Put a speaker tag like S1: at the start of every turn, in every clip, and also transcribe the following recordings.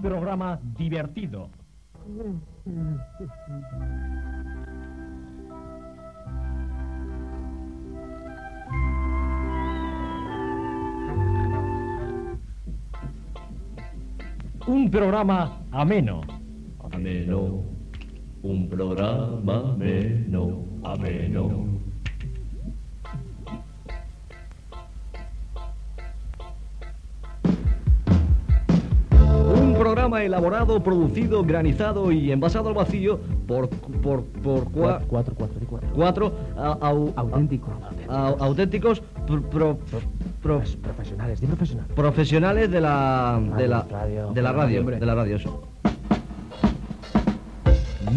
S1: programa divertido. Un programa ameno.
S2: Ameno. Un programa ameno. Ameno.
S3: Un programa elaborado, producido, granizado y envasado al vacío por... por... por... cua-
S4: Cuatro, cuatro, de cuatro.
S3: cuatro a- au-
S4: Auténtico.
S3: a- auténticos pro- pro- pro-
S4: Profes- profesionales, de profesionales.
S3: profesionales de la... de la...
S4: Radio,
S3: de la
S4: radio,
S3: radio,
S4: hombre.
S3: de la radio. eso.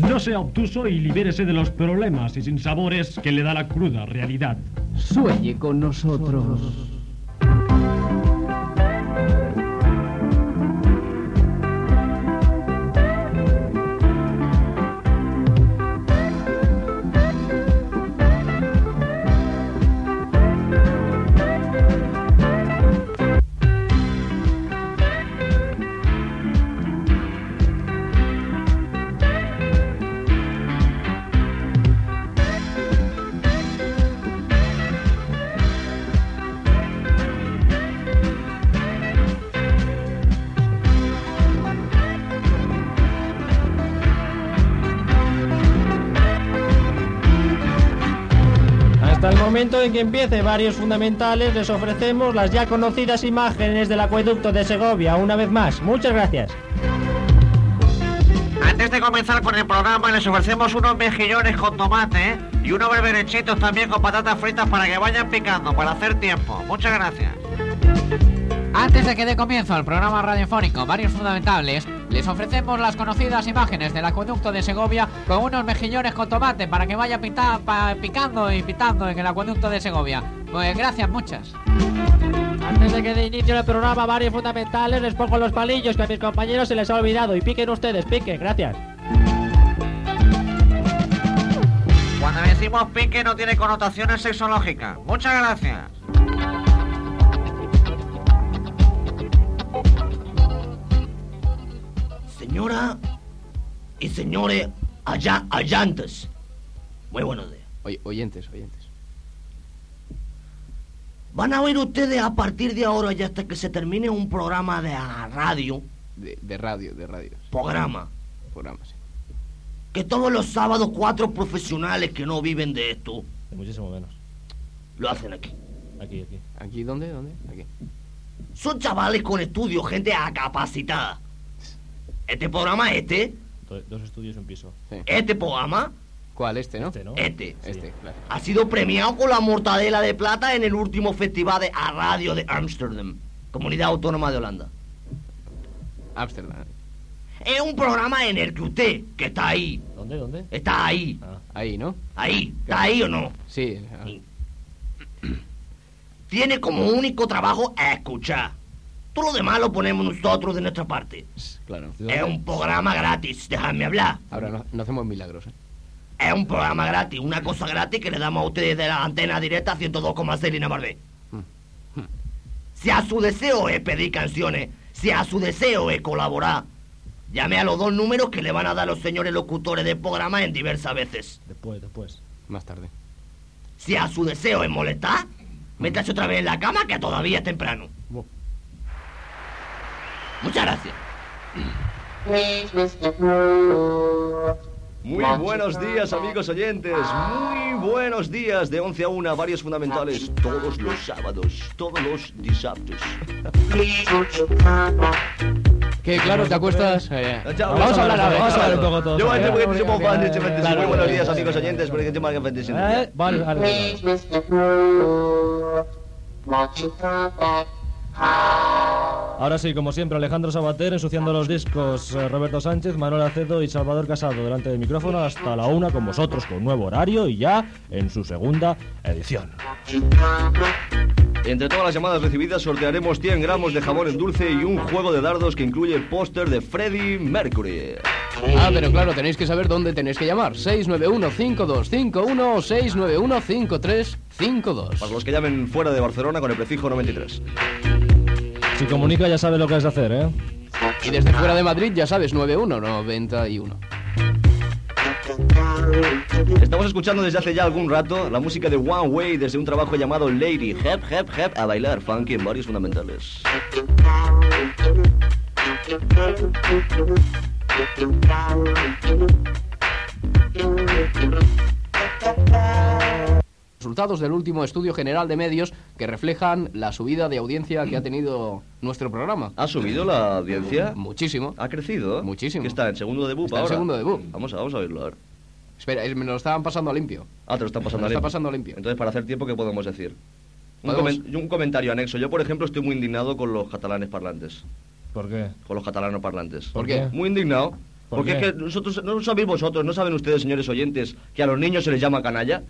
S1: No sea obtuso y libérese de los problemas y sinsabores que le da la cruda realidad.
S5: Sueñe con nosotros.
S6: Hasta el momento en que empiece varios fundamentales, les ofrecemos las ya conocidas imágenes del acueducto de Segovia. Una vez más, muchas gracias.
S7: Antes de comenzar con el programa, les ofrecemos unos mejillones con tomate ¿eh? y unos berberechitos también con patatas fritas para que vayan picando, para hacer tiempo. Muchas gracias.
S8: Antes de que dé comienzo al programa radiofónico Varios Fundamentales, les ofrecemos las conocidas imágenes del acueducto de Segovia con unos mejillones con tomate para que vaya pita- pa- picando y pitando en el acueducto de Segovia. Pues gracias, muchas.
S6: Antes de que dé inicio el programa, varios fundamentales, les pongo los palillos que a mis compañeros se les ha olvidado. Y piquen ustedes, piquen, gracias.
S7: Cuando decimos pique no tiene connotaciones sexológicas. Muchas gracias.
S2: Señora y señores allá, allantes. Muy buenos días.
S5: Oy- oyentes, oyentes.
S2: Van a oír ustedes a partir de ahora y hasta que se termine un programa de la radio,
S5: De, de radio, de radio.
S2: programa,
S5: Programas. sí.
S2: que todos los sábados cuatro profesionales que no viven de esto
S6: Muchísimo menos.
S2: lo hacen aquí.
S6: Aquí, aquí.
S5: ¿Aquí dónde? ¿Dónde? Aquí.
S2: Son chavales con estudios, gente capacitada. Este programa, este,
S6: Dos estudios y un piso.
S5: Sí.
S2: este programa,
S5: ¿Cuál? Este, ¿no?
S6: ¿no?
S2: este,
S5: Este, claro.
S2: ha sido premiado con la mortadela de plata en el último festival de a radio de Ámsterdam, comunidad autónoma de Holanda.
S5: Ámsterdam.
S2: Es un programa en el que usted, que está ahí,
S6: ¿Dónde, dónde? Ah,
S2: está ahí,
S5: Ahí, ¿no?
S2: ahí, está ahí o no,
S5: Sí. ah,
S2: tiene como único trabajo escuchar. Todo lo demás lo ponemos nosotros de nuestra parte.
S5: ah, Claro.
S2: Es un programa gratis, dejadme hablar.
S5: Ahora no, no hacemos milagros. ¿eh?
S2: Es un programa gratis, una cosa gratis que le damos a ustedes de la antena directa 102,6 Lina Barbé. Si a su deseo es pedir canciones, si a su deseo es colaborar, llame a los dos números que le van a dar los señores locutores del programa en diversas veces.
S6: Después, después.
S5: Más tarde.
S2: Si a su deseo es molestar, métase otra vez en la cama que todavía es temprano.
S5: Bu-
S2: Muchas gracias.
S3: Muy buenos días, amigos oyentes. Muy buenos días. De 11 a 1, varios fundamentales. Todos los sábados, todos los disaptes.
S5: Que claro, te acuestas. eh,
S3: Vamos a hablar ahora, vamos a hablar un
S6: poco todos. ¿eh?
S3: Yo voy a decir porque somos fans de
S6: Claro. Eh,
S3: Muy buenos días, amigos oyentes. Porque este te marcan fantasía.
S6: vale, vale. Ahora sí, como siempre, Alejandro Sabater ensuciando los discos, eh, Roberto Sánchez, Manuel Acedo y Salvador Casado delante del micrófono hasta la una con vosotros, con nuevo horario y ya en su segunda edición.
S3: Entre todas las llamadas recibidas sortearemos 100 gramos de jabón en dulce y un juego de dardos que incluye el póster de Freddie Mercury.
S5: Ah, pero claro, tenéis que saber dónde tenéis que llamar. 691-5251 o 691-5352.
S3: Para los que llamen fuera de Barcelona con el prefijo 93.
S6: Si comunica ya sabe lo que has de hacer, ¿eh?
S5: Y desde fuera de Madrid, ya sabes, 91, 91.
S3: Estamos escuchando desde hace ya algún rato la música de One Way desde un trabajo llamado Lady Hep Hep Hep a bailar funky en varios fundamentales.
S5: Resultados del último estudio general de medios que reflejan la subida de audiencia que ha tenido nuestro programa.
S3: ¿Ha subido la audiencia?
S5: Muchísimo.
S3: ¿Ha crecido?
S5: Muchísimo.
S3: Que está en segundo debut
S5: Está en
S3: ahora.
S5: segundo debut.
S3: Vamos a, vamos a oírlo ahora.
S5: Espera, eh, me lo estaban pasando a limpio.
S3: Ah, te lo está pasando
S5: Lo está
S3: limpio.
S5: pasando limpio.
S3: Entonces, para hacer tiempo, ¿qué podemos decir? Un,
S5: Podemos-
S3: comen- un comentario anexo. Yo, por ejemplo, estoy muy indignado con los catalanes parlantes.
S6: ¿Por qué?
S3: Con los catalanos parlantes.
S5: ¿Por qué?
S3: Muy indignado.
S6: ¿Por
S3: porque
S6: qué?
S3: es que nosotros, no sabéis vosotros, no saben ustedes, señores oyentes, que a los niños se les llama canalla.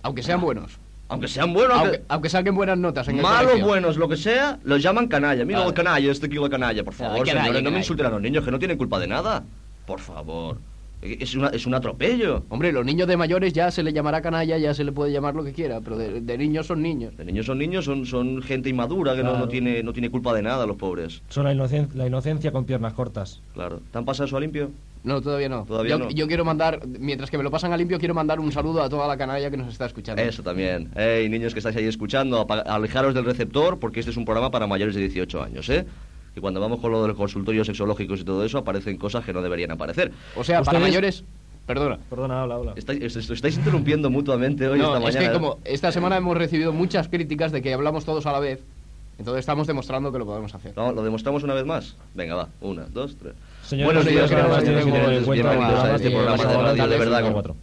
S5: Aunque sean buenos.
S3: Aunque sean buenos,
S5: Aunque, aunque saquen buenas notas en el
S3: malos,
S5: colegio.
S3: buenos, lo que sea, los llaman canalla. Mira
S5: Vale.
S3: el canalla, este kilo canalla, por favor,
S5: Ay, canalla,
S3: señores, no
S5: canalla.
S3: me insulten a los niños, que no tienen culpa de nada. Por favor. Es, una- es un atropello.
S5: Hombre, los niños de mayores ya se le llamará canalla, ya se le puede llamar lo que quiera, pero de, de niños son niños.
S3: Los niños son niños, son, son gente inmadura que no- no,
S6: Claro.
S3: tiene, no tiene culpa de nada, los pobres.
S6: Son la, inocen- la inocencia con piernas cortas.
S3: Claro. ¿Te han pasado eso a limpio?
S5: No, todavía no.
S3: Todavía
S5: yo,
S3: no.
S5: yo quiero mandar, mientras que me lo pasan a limpio, quiero mandar un saludo a toda la canalla que nos está escuchando.
S3: Eso también. Ey, niños que estáis ahí escuchando, apa- alejaros del receptor porque este es un programa para mayores de 18 años, ¿eh? Que cuando vamos con lo de los consultorios sexológicos y todo eso, aparecen cosas que no deberían aparecer. Pues,
S5: O sea, para
S6: Ustedes-
S5: mayores... Perdona.
S6: Perdona, habla, habla.
S3: Estáis, os- os estáis interrumpiendo mutuamente hoy
S5: No,
S3: esta
S5: es
S3: mañana. ¿eh?
S5: que como esta semana hemos recibido muchas críticas de que hablamos todos a la vez, entonces estamos demostrando que lo podemos hacer.
S3: No, lo demostramos una vez más. Venga, va. Una, dos, tres.
S6: Señores,
S3: Buenos días,
S5: señores,
S3: gracias,
S5: tenemos en
S3: bienvenidos,
S5: cuenta
S3: bienvenidos a
S5: programas
S3: este
S5: de
S3: programa de
S5: Barcelona,
S3: radio, de
S5: Tales,
S3: verdad.
S5: Canal
S3: con-
S6: cuatro.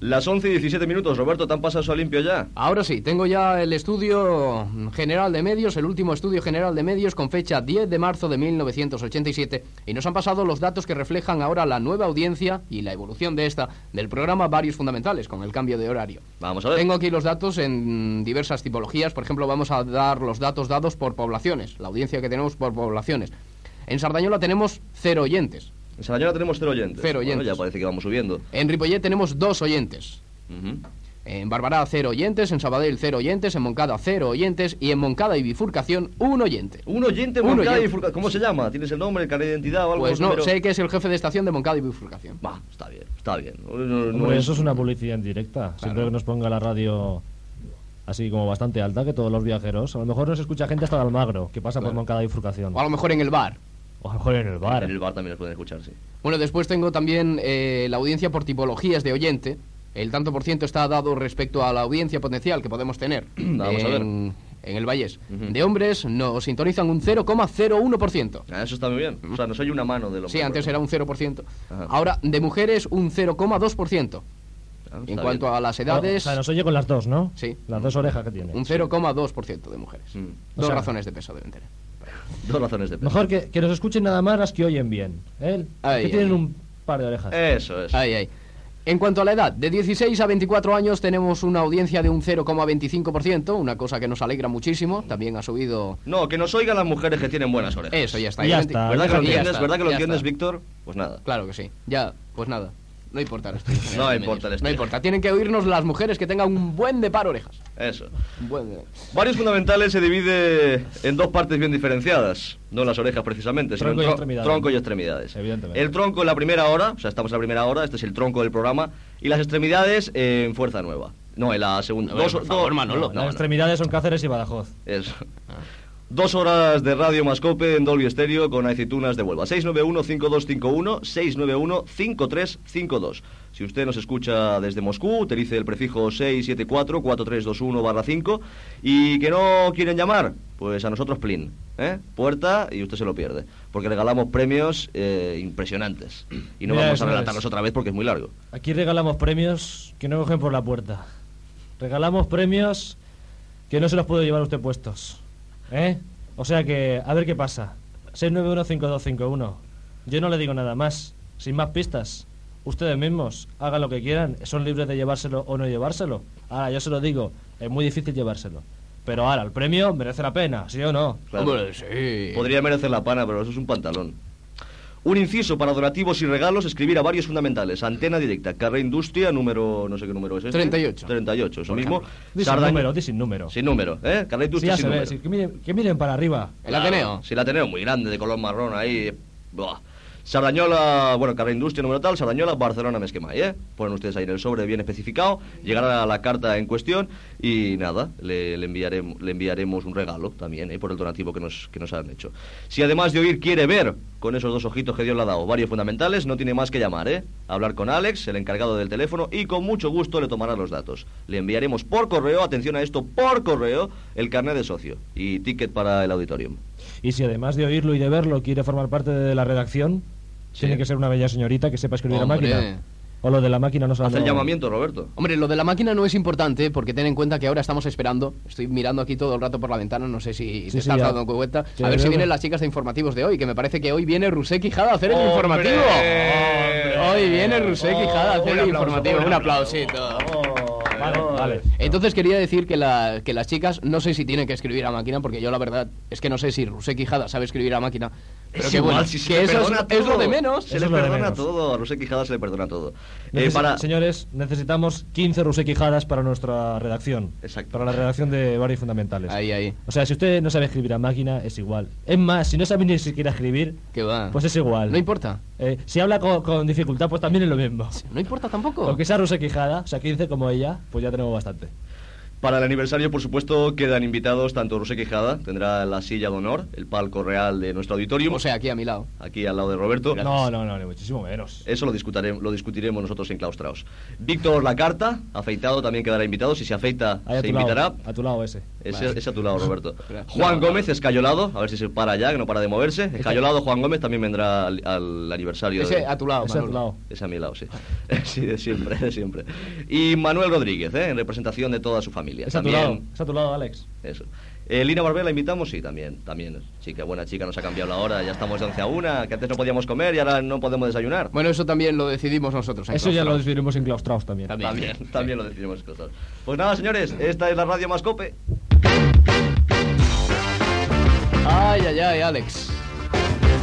S3: Las 11 y 17 minutos, Roberto, ¿te han pasado eso a limpio ya?
S5: Ahora sí, tengo ya el estudio general de medios, el último estudio general de medios con fecha 10 de marzo de 1987 y nos han pasado los datos que reflejan ahora la nueva audiencia y la evolución de esta del programa Varios Fundamentales con el cambio de horario.
S3: Vamos a ver.
S5: Tengo aquí los datos en diversas tipologías. Por ejemplo, vamos a dar los datos dados por poblaciones, la audiencia que tenemos por poblaciones. En Sardañola tenemos cero oyentes.
S3: En Sarayona tenemos cero oyentes.
S5: Cero
S3: Bueno,
S5: oyentes.
S3: ya parece que vamos subiendo.
S5: En Ripollet tenemos dos oyentes.
S3: Ujú.
S5: En Barbará, cero oyentes. En Sabadell, cero oyentes. En Moncada, cero oyentes. Y en Moncada y Bifurcación, un oyente.
S3: Un oyente
S5: Un
S3: Moncada
S5: oyente.
S3: y Furca- ¿Cómo se llama? ¿Tienes el nombre, el carnet de identidad o algo?
S5: Pues
S3: ¿Un
S5: no,
S3: número?
S5: sé que es el jefe de estación de Moncada y Bifurcación.
S3: Va, está bien, está bien. No, no, no
S6: Hombre,
S3: es-
S6: eso es una publicidad indirecta. Siempre que nos ponga la radio así como bastante alta, que todos los viajeros. A lo mejor nos escucha gente hasta de Almagro, que pasa por Moncada y Furcación.
S5: O a lo mejor en el bar.
S6: O a lo mejor en el bar.
S3: En el bar también lo pueden escuchar, sí.
S5: Bueno, después tengo también eh, la audiencia por tipologías de oyente. El tanto por ciento está dado respecto a la audiencia potencial que podemos tener
S3: Vamos a ver.
S5: en, en el Vallés. De hombres nos sintonizan un 0,01%.
S3: Ah, eso está muy bien. O sea, no soy una mano de lo
S5: Sí, antes era un 0%.
S3: Ajá.
S5: Ahora, de mujeres, un 0,2%.
S3: Ah,
S5: En cuanto a las
S6: O
S5: edades,
S6: sea, nos oye con las dos, ¿no?
S5: Sí.
S6: Las dos orejas que tiene.
S5: un 0,2% de mujeres.
S3: Mm.
S6: O
S5: Dos
S6: sea-
S5: razones de peso deben tener.
S3: Dos razones de peso.
S6: Mejor que, que nos escuchen nada más las que oyen bien. ¿eh?
S5: Ahí,
S6: que tienen
S5: ahí.
S6: un par de orejas.
S3: Eso es.
S5: Ay, ay. En cuanto a la edad, de 16 a 24 años tenemos una audiencia de un 0,25%, una cosa que nos alegra muchísimo. También ha subido...
S3: No, que nos oigan las mujeres que tienen buenas orejas.
S5: Eso, ya está.
S6: Y ya
S5: Y
S6: está.
S3: ¿Verdad que lo
S5: ya
S3: entiendes,
S5: está,
S3: ¿verdad que lo
S5: ya
S3: entiendes
S5: está.
S3: Víctor? Pues nada.
S5: Claro que sí. Ya, pues nada. No importa el estudio.
S3: No
S5: de
S3: importa el
S5: medios.
S3: estudio.
S5: No importa. Tienen que oírnos las mujeres que tengan un buen de par orejas.
S3: Eso.
S5: Un buen de-
S3: Varios fundamentales se divide en dos partes bien diferenciadas. No las orejas precisamente, sino
S6: Tronco
S3: en
S6: y
S3: tro-
S6: extremidades.
S3: tronco y extremidades.
S6: Evidentemente.
S3: El tronco en la primera hora, o sea, estamos en la primera hora, este es el tronco del programa, y las extremidades eh, en Fuerza Nueva. No, en la segunda.
S5: A ver,
S3: dos,
S5: por favor,
S3: dos-
S5: Manolo.
S3: no,
S6: las
S3: no, no.
S6: extremidades son Cáceres y Badajoz.
S3: Eso.
S6: Ah.
S3: Dos horas de radio Mascope en Dolby Estéreo con aceitunas de Huelva. 691-5251, 691-5352. Si usted nos escucha desde Moscú, utilice el prefijo 674-4321-5. Y que no quieren llamar, pues a nosotros plin. ¿eh? Puerta y usted se lo pierde. Porque regalamos premios eh, impresionantes. Y no
S6: Mira,
S3: vamos
S6: eso
S3: a
S6: es.
S3: relatarlos otra vez porque es muy largo.
S6: Aquí regalamos premios que no cogen por la puerta. Regalamos premios que no se los puede llevar usted puestos. ¿Eh? O sea que, a ver qué pasa. 6915251. Yo no le digo nada más. Sin más pistas. Ustedes mismos, hagan lo que quieran, son libres de llevárselo o no llevárselo. Ahora, yo se lo digo, es muy difícil llevárselo. Pero ahora, el premio merece la pena, ¿sí o no?
S3: Claro.
S5: Hombre, sí.
S3: Podría merecer la pana, pero eso es un pantalón. Un inciso para donativos y regalos, escribir a varios fundamentales. Antena directa, carrera industria, número. no sé qué número es este.
S5: 38.
S3: 38, eso
S5: Por
S3: mismo.
S6: Di sin
S3: Sardaña-
S6: número, di sin número.
S3: Sin número, ¿eh? Carrera
S6: Sí,
S3: industria
S6: ya
S3: sin
S6: se ve,
S3: número.
S6: sí, que, miren, que miren para arriba.
S5: El Ateneo.
S3: Si la tenemos muy grande, de color marrón ahí. Buah. Sardañola, bueno, carrera industria número tal, Sardañola, Barcelona, mes que más, ¿eh? Ponen ustedes ahí en el sobre bien especificado, llegará la carta en cuestión y nada, le, le enviaremos, le enviaremos un regalo también, ¿eh? Por el donativo que nos, que nos han hecho. Si además de oír quiere ver, con esos dos ojitos que Dios le ha dado, varios fundamentales, no tiene más que llamar, ¿eh? Hablar con Alex, el encargado del teléfono, y con mucho gusto le tomará los datos. Le enviaremos por correo, atención a esto, por correo, el carnet de socio y ticket para el auditorium.
S6: Y si además de oírlo y de verlo quiere formar parte de la redacción,
S3: Sí.
S6: tiene que ser una bella señorita que sepa escribir
S5: Hombre.
S6: la máquina. O lo de la máquina no se
S3: Haz el llamamiento, Roberto.
S5: Hombre, lo de la máquina no es importante porque ten en cuenta que ahora estamos esperando. Estoy mirando aquí todo el rato por la ventana, no sé si te
S6: sí,
S5: estás
S6: ya.
S5: dando cuenta.
S6: Sí,
S5: a ver si
S6: veo.
S5: vienen las chicas de informativos de hoy, que me parece que hoy viene Rusé Quijada a hacer el
S3: ¡Hombre!
S5: informativo.
S3: ¡Hombre!
S5: Hoy viene Rusé
S3: ¡Oh!
S5: Quijada a hacer
S3: Un
S5: el
S3: aplauso,
S5: informativo.
S3: un
S5: Un aplausito.
S6: Vale, vale.
S5: Entonces quería decir que, la- que las chicas no sé si tienen que escribir a máquina, porque yo la verdad es que no sé si Rusé Quijada sabe escribir a máquina. Pero
S3: Es
S5: que
S3: igual,
S5: bueno,
S3: si se
S5: que
S3: le
S5: eso
S3: perdona
S5: es, es lo
S3: todo.
S5: de menos.
S3: Se
S6: Eso
S3: le
S6: es lo de
S3: perdona
S6: menos.
S3: todo, a Rusé Quijada se le perdona todo. Eh,
S6: Necesi-
S3: para...
S6: Señores, necesitamos 15 Rusek Quijadas para nuestra redacción.
S3: Exacto.
S6: Para la redacción de varios fundamentales.
S5: Ahí, ahí.
S6: O sea, si usted no sabe escribir a máquina, es igual. Es más, si no sabe ni siquiera escribir,
S5: Que
S3: Ah.
S5: va.
S6: pues es igual.
S5: No importa.
S6: Eh, si habla co- con, dificultad, pues también es lo mismo.
S5: No importa tampoco.
S6: Aunque sea Rusek Quijada, o sea, 15 como ella, pues ya tenemos bastante.
S3: Para el aniversario, por supuesto, quedan invitados tanto Rusé Quijada, tendrá la silla de honor, el palco real de nuestro auditorium,
S5: O sea, aquí a mi lado.
S3: aquí al lado de Roberto.
S6: No, no, no, ni muchísimo menos.
S3: Eso lo, discutare- lo discutiremos nosotros enclaustrados. Víctor Lacarta, afeitado, también quedará invitado. Si se afeita,
S6: Ahí a
S3: se
S6: tu
S3: invitará.
S6: lado, a tu lado ese.
S3: Ese, ese a tu lado, Roberto.
S5: Gracias.
S3: Juan
S5: No, no.
S3: Gómez, escayolado, a ver si se para ya, que no para de moverse. Escayolado, Juan Gómez también vendrá al, al aniversario.
S5: Ese
S3: de-
S5: a tu lado,
S6: Ese a tu
S5: Manolo.
S6: lado.
S3: Es a mi lado, sí. Sí, de siempre, de siempre. Y Manuel Rodríguez, ¿eh? en representación de toda su familia.
S6: Es a tu
S3: También,
S6: lado, es a tu lado, Alex.
S3: Eso. Eh, Lina Barbera la invitamos, sí, también, también. Chica, buena chica, nos ha cambiado la hora, ya estamos de 11 a 1, que antes no podíamos comer y ahora no podemos desayunar.
S5: Bueno, eso también lo decidimos nosotros. ¿eh? en
S6: Eso ya lo
S5: claustro.
S6: decidiremos enclaustrados también.
S3: también, también lo decimos cosas. Pues nada, señores, esta es la radio más cope.
S5: Ay, ay, ay, Alex.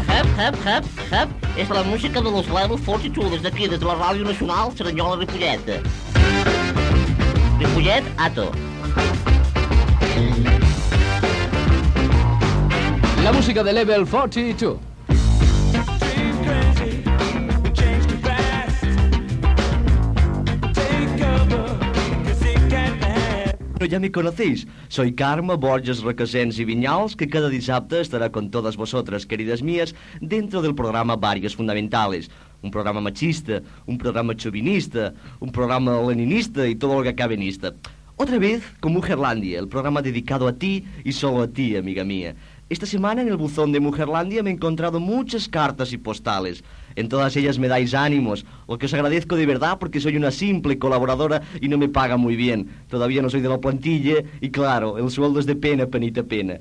S2: Hep, hep, hep, hep. Es la música de los Level 42 de aquí, desde la Radio Nacional Seranyola Ripollet. Ripollet, ato.
S5: La música de Level 42.
S3: Pero ya me conocéis. Soy Carme Borges Recasens y Viñals, que cada dissabte estará con todas vosotras, queridas mías, dentro del programa Varios Fundamentales. Un programa machista, un programa chauvinista, un programa leninista y todo lo que acabe en ista. Otra vez con Mujerlandia, el programa dedicado a ti y solo a ti, amiga mía. Esta semana en el buzón de Mujerlandia me he encontrado muchas cartas y postales. En todas ellas me dais ánimos, lo que os agradezco de verdad porque soy una simple colaboradora y no me paga muy bien. Todavía no soy de la plantilla y claro, el sueldo es de pena, penita, pena.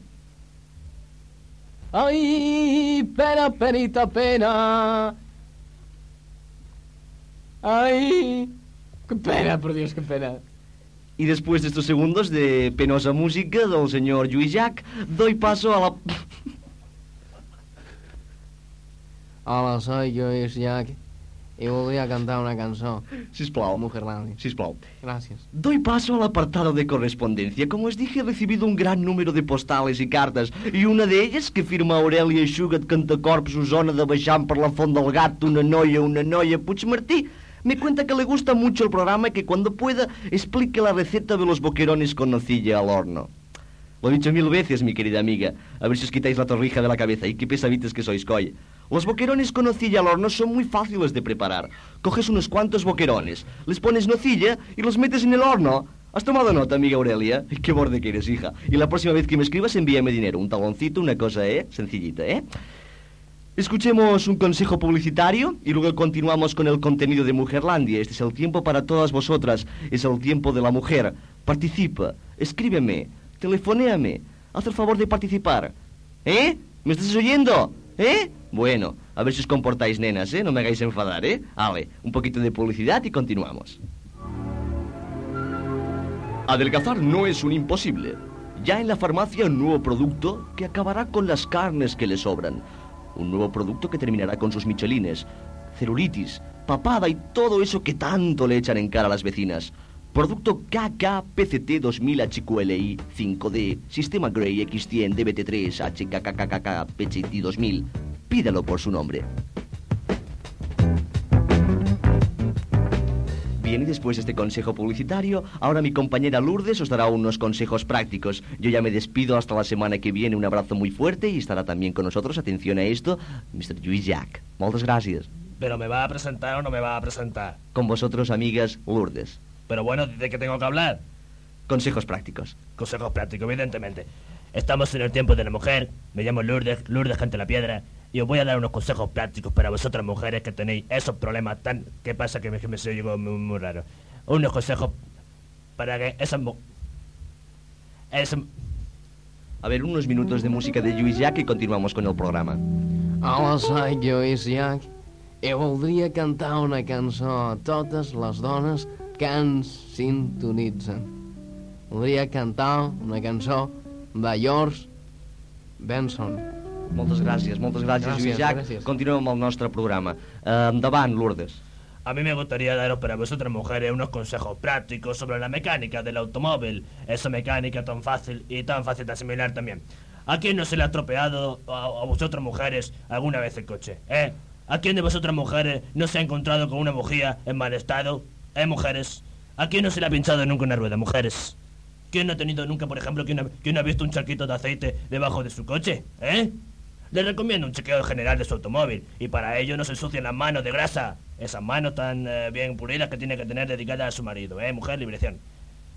S5: Ay, pena, penita, pena. Ay, qué pena, por Dios, qué pena.
S3: Y después de estos segundos de penosa música del señor Lluís Jack, doy paso a la...
S5: Hola, soy Joyce Jack y voy a cantar una canción.
S3: Sisplau,
S5: Mujerlandia.
S3: sisplau.
S5: Gracias.
S3: Doy paso al apartado de correspondencia. Como os dije, he recibido un gran número de postales y cartas, y una de ellas que firma Aurelia Xugat Cantacorps, Osona de Baixant per la Font del Gat, una noia, una noia, Puigmartí, me cuenta que le gusta mucho el programa y que cuando pueda explique la receta de los boquerones con nocilla al horno. Lo he dicho mil veces, mi querida amiga. A ver si os quitáis la torrija de la cabeza y qué pesaditas que sois, coy. Los boquerones con nocilla al horno son muy fáciles de preparar. Coges unos cuantos boquerones, les pones nocilla y los metes en el horno. ¿Has tomado nota, amiga Aurelia? Qué borde que eres, hija. Y la próxima vez que me escribas, envíame dinero, un taloncito, una cosa, ¿eh? Sencillita, ¿eh? Escuchemos un consejo publicitario y luego continuamos con el contenido de Mujerlandia. Este es el tiempo para todas vosotras, es el tiempo de la mujer. Participa, escríbeme, telefonéame, haz el favor de participar. ¿Eh? ¿Me estás oyendo? ¿Eh? Bueno, A ver si os comportáis nenas, ¿eh? No me hagáis enfadar, ¿eh? Ale, un poquito de publicidad y continuamos. Adelgazar no es un imposible. Ya en la farmacia un nuevo producto que acabará con las carnes que le sobran. Un nuevo producto que terminará con sus michelines, celulitis, papada y todo eso que tanto le echan en cara a las vecinas. Producto KKPCT 2000 HQLI 5D, Sistema Grey X100 DBT3 HKKKK PCT 2000. Pídalo por su nombre. Bien, y después de este consejo publicitario, ahora mi compañera Lourdes os dará unos consejos prácticos. Yo ya me despido hasta la semana que viene. Un abrazo muy fuerte y estará también con nosotros, atención a esto, Mr. Lluís Jack. Muchas gracias.
S6: Pero me va a presentar o no me va a presentar.
S3: Con vosotros, amigas Lourdes.
S6: Pero bueno, ¿de qué tengo que hablar?
S3: Consejos prácticos.
S6: Consejos prácticos, evidentemente. Estamos en el tiempo de la mujer. Me llamo Lourdes, Lourdes Gente la Piedra. Y os voy a dar unos consejos prácticos para vosotras mujeres que tenéis esos problemas tan... ¿Qué pasa? Que me, que me se llegó muy, muy raro. Unos consejos para que esas... mu- esas-
S3: A ver, unos minutos de música de Lluís Jack y continuamos con el programa.
S5: Aleshores, Lluís Llach, jo voldria cantar una cançó a totes les dones que ens sintonitzen. Voldria cantar una cançó de George Benson.
S3: Moltes gràcies, moltes gràcies,
S5: Gràcies,
S3: Lluís Jack.
S5: gràcies.
S3: Continuem amb el nostre programa. Eh, endavant, Lourdes.
S6: A mí me gustaría daros para vosotras mujeres unos consejos prácticos sobre la mecánica del automóvil. Esa mecánica tan fácil y tan fácil de asimilar también. ¿A quién no se le ha estropeado a, a vosotras mujeres alguna vez el coche? ¿Eh? ¿A quién de vosotras mujeres no se ha encontrado con una bujía en mal estado? ¿Eh, mujeres? ¿A quién no se le ha pinchado nunca una rueda, mujeres? ¿Quién no ha tenido nunca, por ejemplo, quién ha, quién ha visto un charquito de aceite debajo de su coche? ¿Eh? Les recomiendo un chequeo general de su automóvil y para ello no se ensucien las manos de grasa. Esas manos tan eh, bien pulidas que tiene que tener dedicadas a su marido, ¿eh? Mujer, liberación.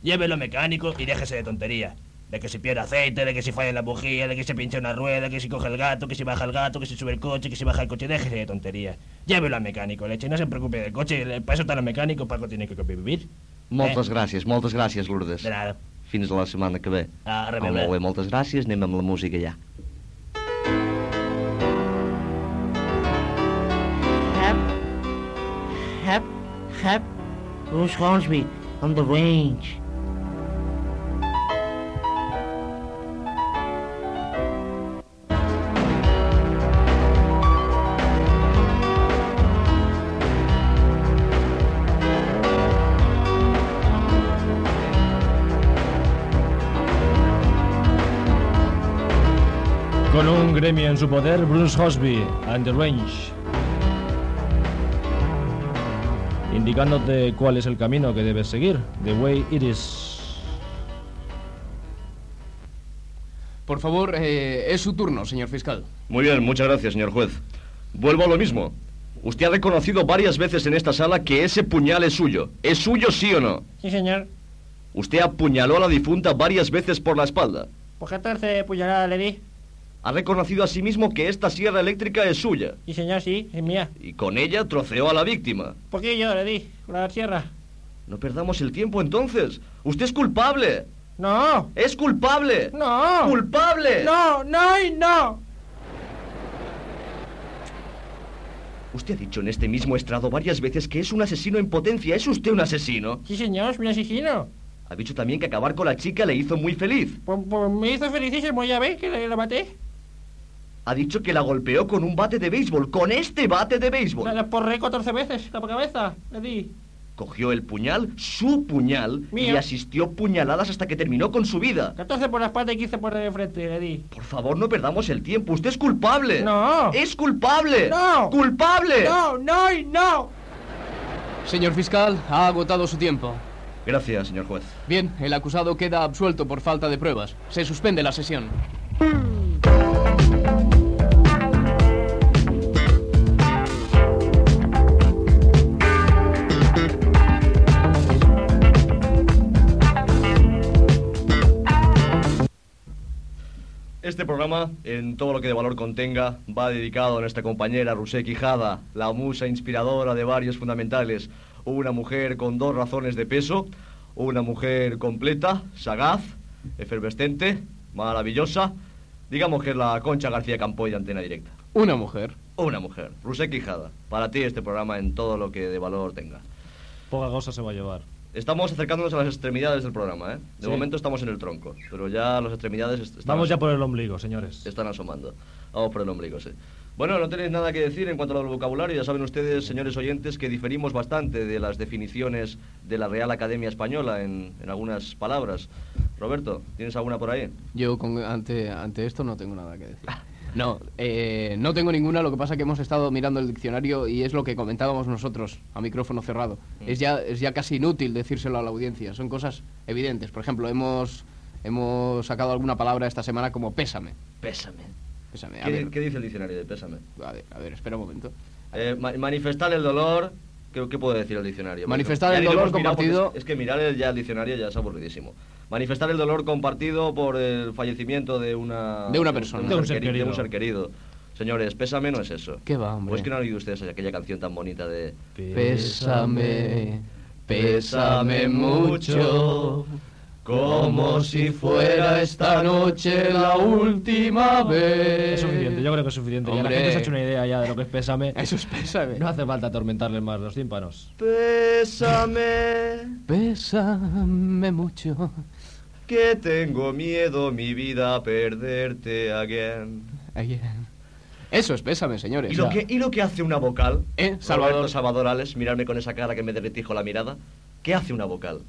S6: Llévelo mecánico y déjese de tonterías. De que si pierde aceite, de que si falla la bujía, de que se pinche una rueda, que si coge el gato, que si baja el gato, que si sube el coche, que si baja el coche, déjese de tonterías. Llévelo al mecánico, leche, no se preocupe del coche, el- para eso están los mecánicos, Paco tiene que vivir.
S3: Moltes
S5: Eh.
S3: gràcies, moltes gràcies, Lourdes.
S6: De nada.
S3: Fins a la setmana que ve.
S6: A
S3: Ah,
S6: reveure.
S3: molt bé, moltes gràcies. Anem amb la música ja.
S9: Hep, hep, hep, Bruce Hornsby on the range.
S6: Con un gremio en su poder, Bruce Hosby and the Range. Indicándote cuál es el camino que debes seguir. The way it is.
S5: Por favor, eh, es su turno, señor fiscal.
S3: Muy bien, muchas gracias, señor juez. Vuelvo a lo mismo. Usted ha reconocido varias veces en esta sala que ese puñal es suyo. ¿Es suyo sí o no?
S10: Sí, señor.
S3: Usted apuñaló a la difunta varias veces por la espalda.
S10: Pues 14 puñaladas le di.
S3: Ha reconocido asimismo que esta sierra eléctrica es suya.
S10: Sí, señor, sí, es mía.
S3: Y con ella troceó a la víctima.
S10: Un poquillo le di, con la sierra.
S3: No perdamos el tiempo entonces. Usted es culpable.
S10: ¡No!
S3: Es culpable.
S10: ¡No!
S3: Culpable.
S10: ¡No, no y no!
S3: Usted ha dicho en este mismo estrado varias veces que es un asesino en potencia. ¿Es usted un asesino?
S10: Sí, señor, soy un asesino.
S3: Ha dicho también que acabar con la chica le hizo muy feliz.
S10: Pues, pues me hizo felicísimo, ya veis que le- la maté.
S3: Ha dicho que la golpeó con un bate de béisbol, con este bate de béisbol.
S10: La, la porré 14 veces, la cabeza, le di.
S3: Cogió el puñal, su puñal, y
S10: Mío.
S3: asistió puñaladas hasta que terminó con su vida.
S10: 14 por la espalda y 15 por el frente, le di.
S3: Por favor, no perdamos el tiempo. Usted es culpable.
S10: ¡No!
S3: Es culpable.
S10: No.
S3: Culpable.
S10: ¡No, no y no!
S5: Señor fiscal, ha agotado su tiempo.
S3: Gracias, señor juez.
S5: Bien, el acusado queda absuelto por falta de pruebas. Se suspende la sesión.
S3: Este programa, en todo lo que de valor contenga, va dedicado a nuestra compañera Rusé Quijada, la musa inspiradora de varios fundamentales. Una mujer con dos razones de peso, una mujer completa, sagaz, efervescente, maravillosa. Digamos que es la Concha García Campoy de Antena Directa.
S5: Una mujer.
S3: Una mujer, Rusé Quijada. Para ti este programa en todo lo que de valor tenga.
S6: Poca cosa se va a llevar.
S3: Estamos acercándonos a las extremidades del programa, ¿eh? De
S6: Sí.
S3: momento estamos en el tronco, pero ya las extremidades est- están,
S6: Vamos ya por el ombligo, señores.
S3: están asomando. Vamos por el ombligo, sí. Bueno, no tenéis nada que decir en cuanto al vocabulario. Ya saben ustedes, señores oyentes, que diferimos bastante de las definiciones de la Real Academia Española en, en algunas palabras. Roberto, ¿tienes alguna por ahí?
S5: Yo con- ante, ante esto no tengo nada que decir. No, eh, no tengo ninguna, lo que pasa que hemos estado mirando el diccionario y es lo que comentábamos nosotros a micrófono cerrado. Es, ya, es ya casi inútil decírselo a la audiencia, son cosas evidentes. Por ejemplo, hemos, hemos sacado alguna palabra esta semana como pésame.
S3: Pésame.
S5: Pésame, a
S3: ¿Qué, di-
S5: ver,
S3: qué dice el diccionario de pésame?
S5: a ver, a ver, espera un momento.
S3: Eh, ma- manifestar el dolor. ¿Qué, qué puede decir el diccionario?
S5: Manifestar
S3: Ya
S5: el
S3: iremos
S5: dolor
S3: mirando, porque es-
S5: compartido.
S3: Es, que mirar el, ya el diccionario ya es aburridísimo. Manifestar el dolor compartido por el fallecimiento de una...
S5: De una persona.
S3: De un, ser querido. de un ser querido. Señores, pésame no es eso.
S5: ¿Qué va, hombre?
S3: Pues que no han oído ustedes aquella canción tan bonita de...
S5: Pésame, pésame mucho, como si fuera esta noche la última vez.
S6: Es suficiente, yo creo que es suficiente. Ya
S5: Hombre.
S6: la gente se ha hecho una idea ya de lo que es pésame.
S5: Eso es pésame.
S6: No hace falta atormentarle más los tímpanos.
S3: Pésame,
S5: Pésame mucho.
S3: que tengo miedo mi vida a perderte again.
S5: Again. Eso es pésame, señores.
S3: ¿Y lo, que, ¿Y lo que hace una vocal?
S5: ¿Eh? Salvador.
S3: Roberto Salvador Ales, mirarme con esa cara que me derretijo la mirada. ¿Qué hace una vocal?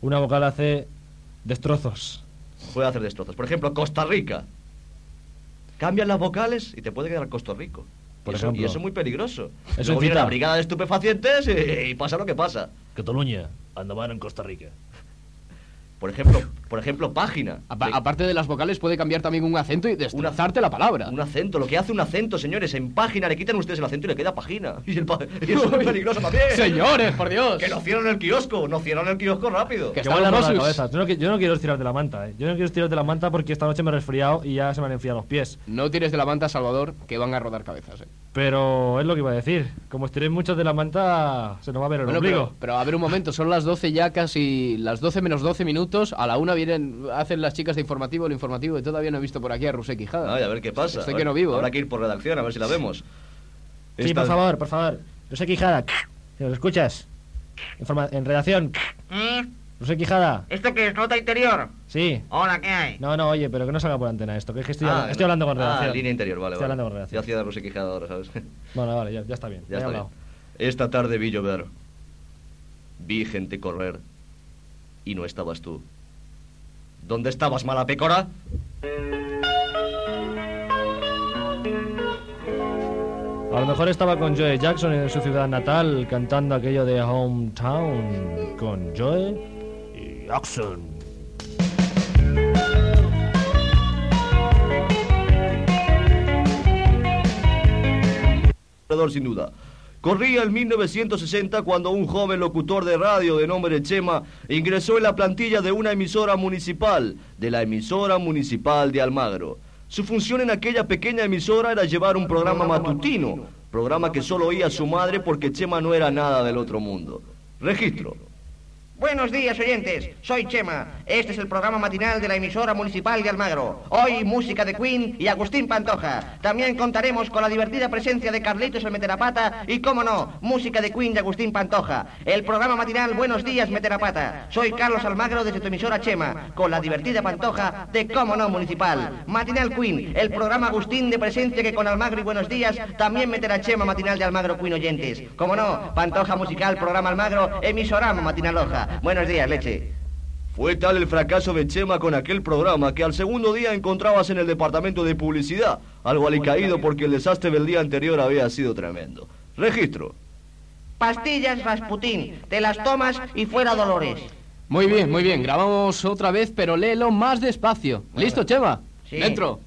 S6: Una vocal hace destrozos.
S3: Puede hacer destrozos. Por ejemplo, Costa Rica. Cambian las vocales y te puede quedar Costa Rico.
S6: Por
S3: y, eso,
S6: ejemplo.
S3: y eso es muy peligroso.
S6: Eso
S3: Luego viene
S6: incita.
S3: la brigada de estupefacientes y, y pasa lo que pasa.
S6: Cataluña, Andamán en Costa Rica.
S3: Por ejemplo, por ejemplo página.
S5: Apa- aparte de las vocales, puede cambiar también un acento y destrozarte la palabra.
S3: Un acento, lo que hace un acento, señores, en página le quitan ustedes el acento y le queda página. Y, el pa- y eso es muy peligroso también.
S5: Señores, por Dios.
S3: Que nos cierran el kiosco, nos cierran el kiosco rápido.
S5: Que
S6: Que
S5: está
S6: van a
S5: los
S6: dar la
S5: Mossus.
S6: cabeza. Yo no, qui- yo no quiero estirar de la manta, ¿eh? Yo no quiero estirar de la manta porque esta noche me he resfriado y ya se me han enfriado los pies.
S5: No tires de la manta, Salvador, que van a rodar cabezas. eh.
S6: Pero es lo que iba a decir. Como estiré mucho de la manta, se nos va a ver el
S5: Bueno,
S6: ombligo.
S5: pero, pero a ver un momento, son las 12 ya casi, las 12 menos 12 minutos, a la una vienen, hacen las chicas de informativo, el informativo, y todavía no he visto por aquí a Rusé Quijada.
S3: Ay, a ver qué pasa.
S5: Estoy
S3: A
S5: que
S3: ver,
S5: no vivo.
S3: Habrá
S5: ¿eh?
S3: que ir por redacción, a ver si la vemos.
S6: Sí,
S3: Esta-
S6: por favor, por favor. José Quijada, si nos escuchas. Informa- en redacción,
S2: ¿Eh?
S7: ¿Mm?
S6: José Quijada,
S7: ¿Esto qué es? ¿Nota interior?
S6: sí.
S7: Hola, ¿qué hay?
S6: No, no, oye, pero que no salga por antena esto, que es que estoy,
S3: Ah,
S6: hablando, estoy hablando con redacción.
S3: Ah, línea interior, vale,
S6: Estoy
S3: vale.
S6: hablando con
S3: Yo
S6: redacción.
S3: hacía de Rusé Quijada ahora, ¿sabes?
S6: Bueno, vale, ya, ya está bien.
S3: Ya
S6: he
S3: está
S6: hablado.
S3: bien. Esta tarde vi llover. Vi gente correr. Y no estabas tú. ¿Dónde estabas, mala pecora?
S6: A lo mejor estaba con Joe Jackson en su ciudad natal cantando aquello de Hometown con Joe y Jackson.
S3: Corredor, sin duda. Corría el 1960 cuando un joven locutor de radio de nombre Chema ingresó en la plantilla de una emisora municipal, de la emisora municipal de Almagro. Su función en aquella pequeña emisora era llevar un programa matutino, programa que solo oía su madre porque Chema no era nada del otro mundo. Registro.
S2: Buenos días, oyentes. Soy Chema. Este es el programa matinal de la emisora municipal de Almagro. Hoy, música de Queen y Agustín Pantoja. También contaremos con la divertida presencia de Carlitos el Meterapata y, cómo no, música de Queen y Agustín Pantoja. El programa matinal Buenos días, Meterapata. Soy Carlos Almagro desde tu emisora Chema, con la divertida Pantoja de, cómo no, municipal. Matinal Queen, el programa Agustín de presencia que con Almagro y Buenos días también meterá Chema matinal de Almagro Queen oyentes. Cómo no, Pantoja musical, programa Almagro, emisorama matinaloja. Buenos días, leche.
S3: Fue tal el fracaso de Chema con aquel programa que al segundo día encontrabas en el departamento de publicidad, algo alicaído porque el desastre del día anterior había sido tremendo. Registro.
S2: Pastillas Rasputín, te las tomas y fuera dolores.
S5: Muy bien, muy bien, grabamos otra vez, pero léelo más despacio. ¿Listo, Chema?
S2: Sí.
S5: Dentro.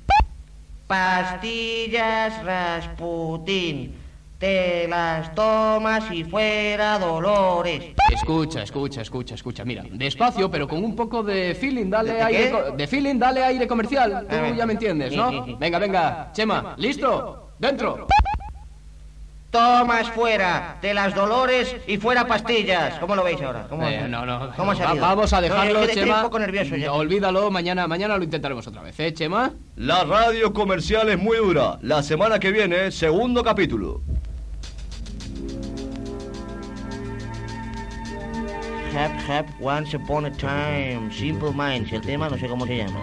S2: Pastillas Rasputín, te las tomas y fuera dolores.
S5: Escucha, escucha, escucha, escucha. Mira, despacio, pero con un poco de feeling, dale
S2: ¿De
S5: aire.
S2: qué?
S5: co- De feeling, dale aire comercial. Tú
S2: ver.
S5: ya me entiendes,
S2: Sí, sí,
S5: ¿no?
S2: sí.
S5: Venga, venga. Chema, ¿listo? Dentro.
S9: Tomas fuera, de las dolores y fuera pastillas. ¿Cómo lo veis ahora? ¿Cómo,
S5: Eh, no, no.
S9: ¿cómo ha
S5: va-
S9: salido?
S5: vamos a
S9: No, es que
S5: dejarlo,
S9: estoy
S5: Chema.
S9: un poco nervioso ya.
S5: Olvídalo, mañana, mañana lo intentaremos otra vez, ¿eh, Chema?
S3: La radio comercial es muy dura. La semana que viene, segundo capítulo.
S9: Hap, hap, once upon a time, simple minds. El tema no sé cómo se llama.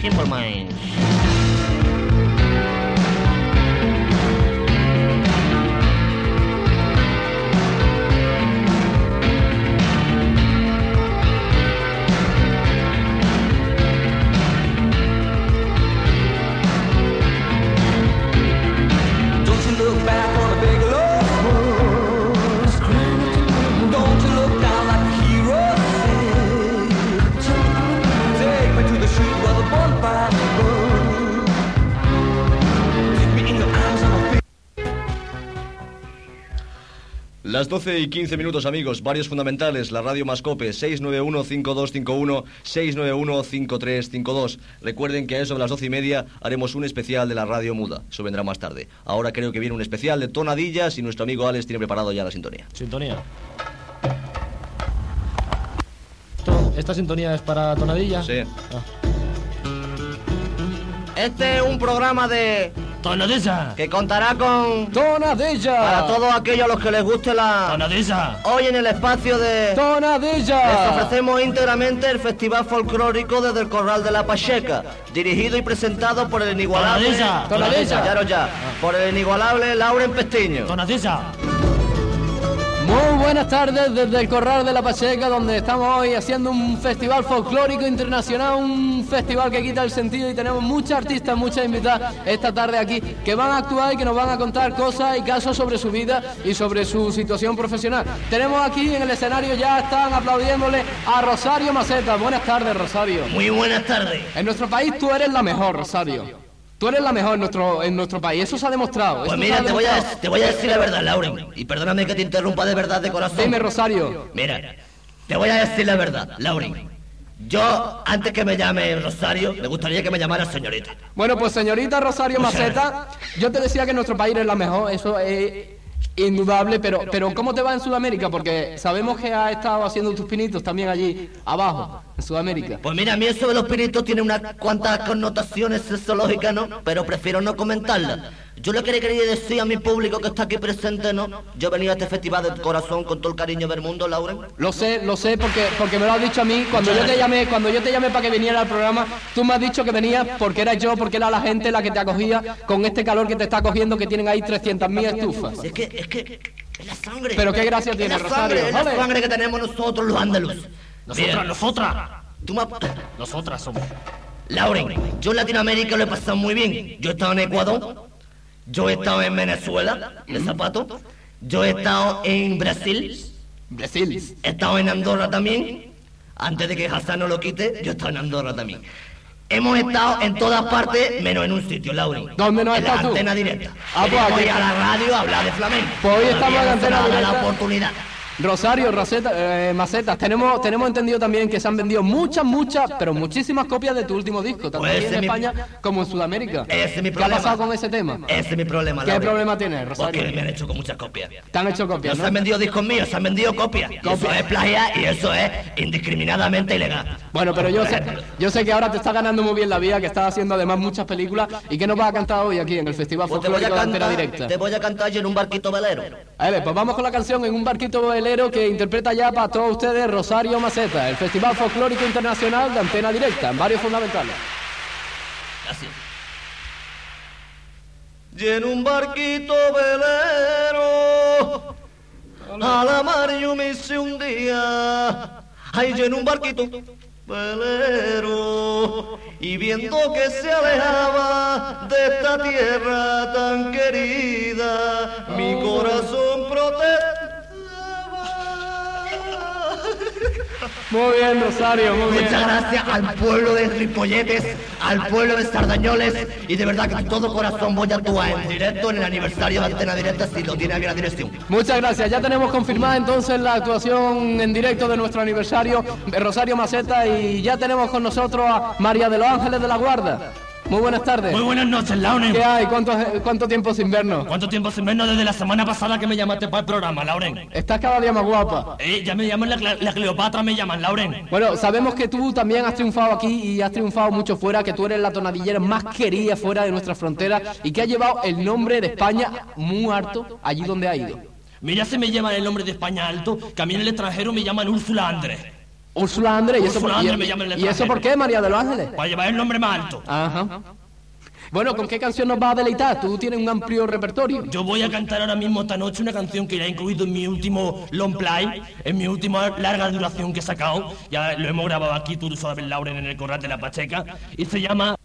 S9: Simple minds.
S11: Don't you look back on the big lows. Don't you look down like the hero said. Take me to the shoot where the bonfire burns. Take me in your arms and I'll
S3: Las 12 y 15 minutos, amigos. Varios fundamentales. La radio Mascope, 691-5251, 691-5352. Recuerden que a eso de las 12 y media haremos un especial de la radio muda. Eso vendrá más tarde. Ahora creo que viene un especial de tonadillas y nuestro amigo Alex tiene preparado ya la sintonía.
S6: Sintonía. ¿Esta sintonía es para tonadilla? Ah.
S3: Sí.
S2: Este es un programa de...
S6: Tonadilla.
S2: Que contará con...
S5: Tonadilla.
S2: Para todos aquellos a los que les guste la...
S6: Tonadilla.
S2: Hoy en el espacio de...
S5: Tonadilla.
S2: Les ofrecemos íntegramente el Festival Folclórico desde el Corral de la Pacheca, dirigido y presentado por el inigualable...
S6: Tonadilla. Tonadilla. Ah.
S2: Ya no ya. Por el inigualable Lauren Pestiño.
S6: Tonadilla.
S5: Muy buenas tardes desde el Corral de la Pacheca, donde estamos hoy haciendo un festival folclórico internacional, un festival que quita el sentido y tenemos muchas artistas, muchas invitadas esta tarde aquí que van a actuar y que nos van a contar cosas y casos sobre su vida y sobre su situación profesional. Tenemos aquí en el escenario ya están aplaudiéndole a Rosario Maceta. Buenas tardes, Rosario.
S2: Muy buenas tardes.
S5: En nuestro país tú eres la mejor, Rosario. Tú eres la mejor en nuestro, en nuestro país, eso se ha demostrado.
S2: Pues
S5: eso
S2: mira,
S5: se ha
S2: te voy, a,
S5: demostrado.
S2: te voy a decir la verdad, Lauren. Y perdóname que te interrumpa de verdad de corazón.
S5: Dime, Rosario.
S2: Mira, te voy a decir la verdad, Lauren. Yo, antes que me llame Rosario, me gustaría que me llamara señorita.
S5: Bueno, pues señorita Rosario Maceta, yo te decía que nuestro país es la mejor, eso es indudable, pero, pero ¿cómo te va en Sudamérica? Porque sabemos que has estado haciendo tus pinitos también allí abajo, en Sudamérica.
S2: Pues mira, a mí eso de los pinitos tiene unas cuantas connotaciones sexológicas, ¿no? Pero prefiero no comentarlas. Yo lo que le quería decir a mi público que está aquí presente, ¿no? Yo he venido a este festival de corazón con todo el cariño del mundo, Lauren.
S5: Lo sé, lo sé, porque, porque me lo has dicho a mí. Cuando yo te llamé, cuando yo te llamé para que viniera al programa, tú me has dicho que venías porque era yo, porque era la gente la que te acogía con este calor que te está cogiendo, que tienen ahí 300.000 estufas.
S2: Es que, es que, es la sangre.
S5: Pero qué gracia
S2: Es
S5: tiene,
S2: la sangre,
S5: Rosario.
S2: Es la
S5: Ole.
S2: sangre que tenemos nosotros los andaluces.
S5: Nosotras,
S2: nosotras. Tú me...
S6: Nosotras somos.
S2: Lauren, yo en Latinoamérica lo he pasado muy bien. Yo he estado en Ecuador, yo he estado en Venezuela, de zapato, yo he estado en Brasil,
S5: Brasil,
S2: he estado en Andorra también. Antes de que Hassan no lo quite, yo he estado en Andorra también. Hemos estado en todas partes, menos en un sitio, Lauren.
S5: ¿Dónde no has
S2: En la
S5: estado tú?
S2: antena directa.
S5: Ah, pues
S2: Venimos
S5: aquí
S2: hoy a la
S5: está.
S2: radio a hablar de flamenco.
S5: Pues hoy estamos en la
S2: Todavía no se
S5: antena
S2: nos ha dado
S5: directa.
S2: la oportunidad.
S5: Rosario, Roseta, eh, Macetas, tenemos, tenemos entendido también que se han vendido muchas, muchas, pero muchísimas copias de tu último disco, tanto
S2: Pues
S5: aquí en
S2: ese es mi-
S5: España como en Sudamérica.
S2: Ese es mi
S5: ¿Qué ha
S2: problema.
S5: pasado con ese tema?
S2: Ese es mi problema,
S5: ¿Qué
S2: Lauren.
S5: problema tienes,
S2: Porque me
S5: Rosario?
S2: han hecho con muchas copias.
S5: Te han hecho copias,
S2: No se han
S5: ¿no?
S2: vendido discos míos, se han vendido copias. Y Eso es plagiar y eso es indiscriminadamente ilegal.
S5: Bueno, pero yo sé, yo sé que ahora te está ganando muy bien la vida, que estás haciendo además muchas películas. ¿Y qué nos vas a cantar hoy aquí en el Festival
S2: Pues te voy a
S5: Folclórico de Antena
S2: cantar,
S5: Directa?
S2: te voy a cantar yo en un barquito velero.
S5: A ver, pues vamos con la canción en un barquito velero que interpreta ya para todos ustedes Rosario Maceta, el Festival Folclórico Internacional de Antena Directa, en varios fundamentales.
S3: Y en un barquito velero, a la mar yo me hice un día. Ay, yo en un barquito velero, y viendo que se alejaba de esta tierra tan querida, mi corazón protestaba.
S5: Muy bien, Rosario, muy bien.
S2: Muchas gracias al pueblo de Ripolletes, al pueblo de Sardañoles y de verdad que de todo corazón voy a actuar en directo en el aniversario de Antena Directa si lo tiene a bien la dirección.
S5: Muchas gracias. Ya tenemos confirmada entonces la actuación en directo de nuestro aniversario de Rosario Maceta y ya tenemos con nosotros a María de los Ángeles de la Guarda. Muy buenas tardes.
S12: Muy buenas noches, Lauren.
S5: ¿Qué hay? ¿Cuánto, cuánto tiempo sin vernos?
S12: ¿Cuánto tiempo sin vernos desde la semana pasada que me llamaste para el programa, Lauren?
S5: Estás cada día más guapa.
S12: Eh, ya me llaman la, Cle- la Cleopatra, me llaman, Lauren.
S5: Bueno, sabemos que tú también has triunfado aquí y has triunfado mucho fuera, que tú eres la tonadillera más querida fuera de nuestras fronteras y que ha llevado el nombre de España muy harto allí donde ha ido.
S12: Mira si me llaman el nombre de España alto, que a mí en el extranjero me llaman Úrsula Andrés.
S5: Úrsula Andrés, ¿y eso, por-
S12: Úrsula Andrés
S5: y-
S12: me llaman en el
S5: ¿y eso
S12: extranjero.
S5: por qué, María de los Ángeles?
S12: Para llevar el nombre más alto.
S5: Ajá. Bueno, ¿con qué canción nos vas a deleitar? Tú tienes un amplio repertorio.
S12: Yo voy a cantar ahora mismo esta noche una canción que ya he incluido en mi último long play, en mi última larga duración que he sacado. Ya lo hemos grabado aquí, tú lo sabes, Lauren, en el Corral de la Pacheca. Y se llama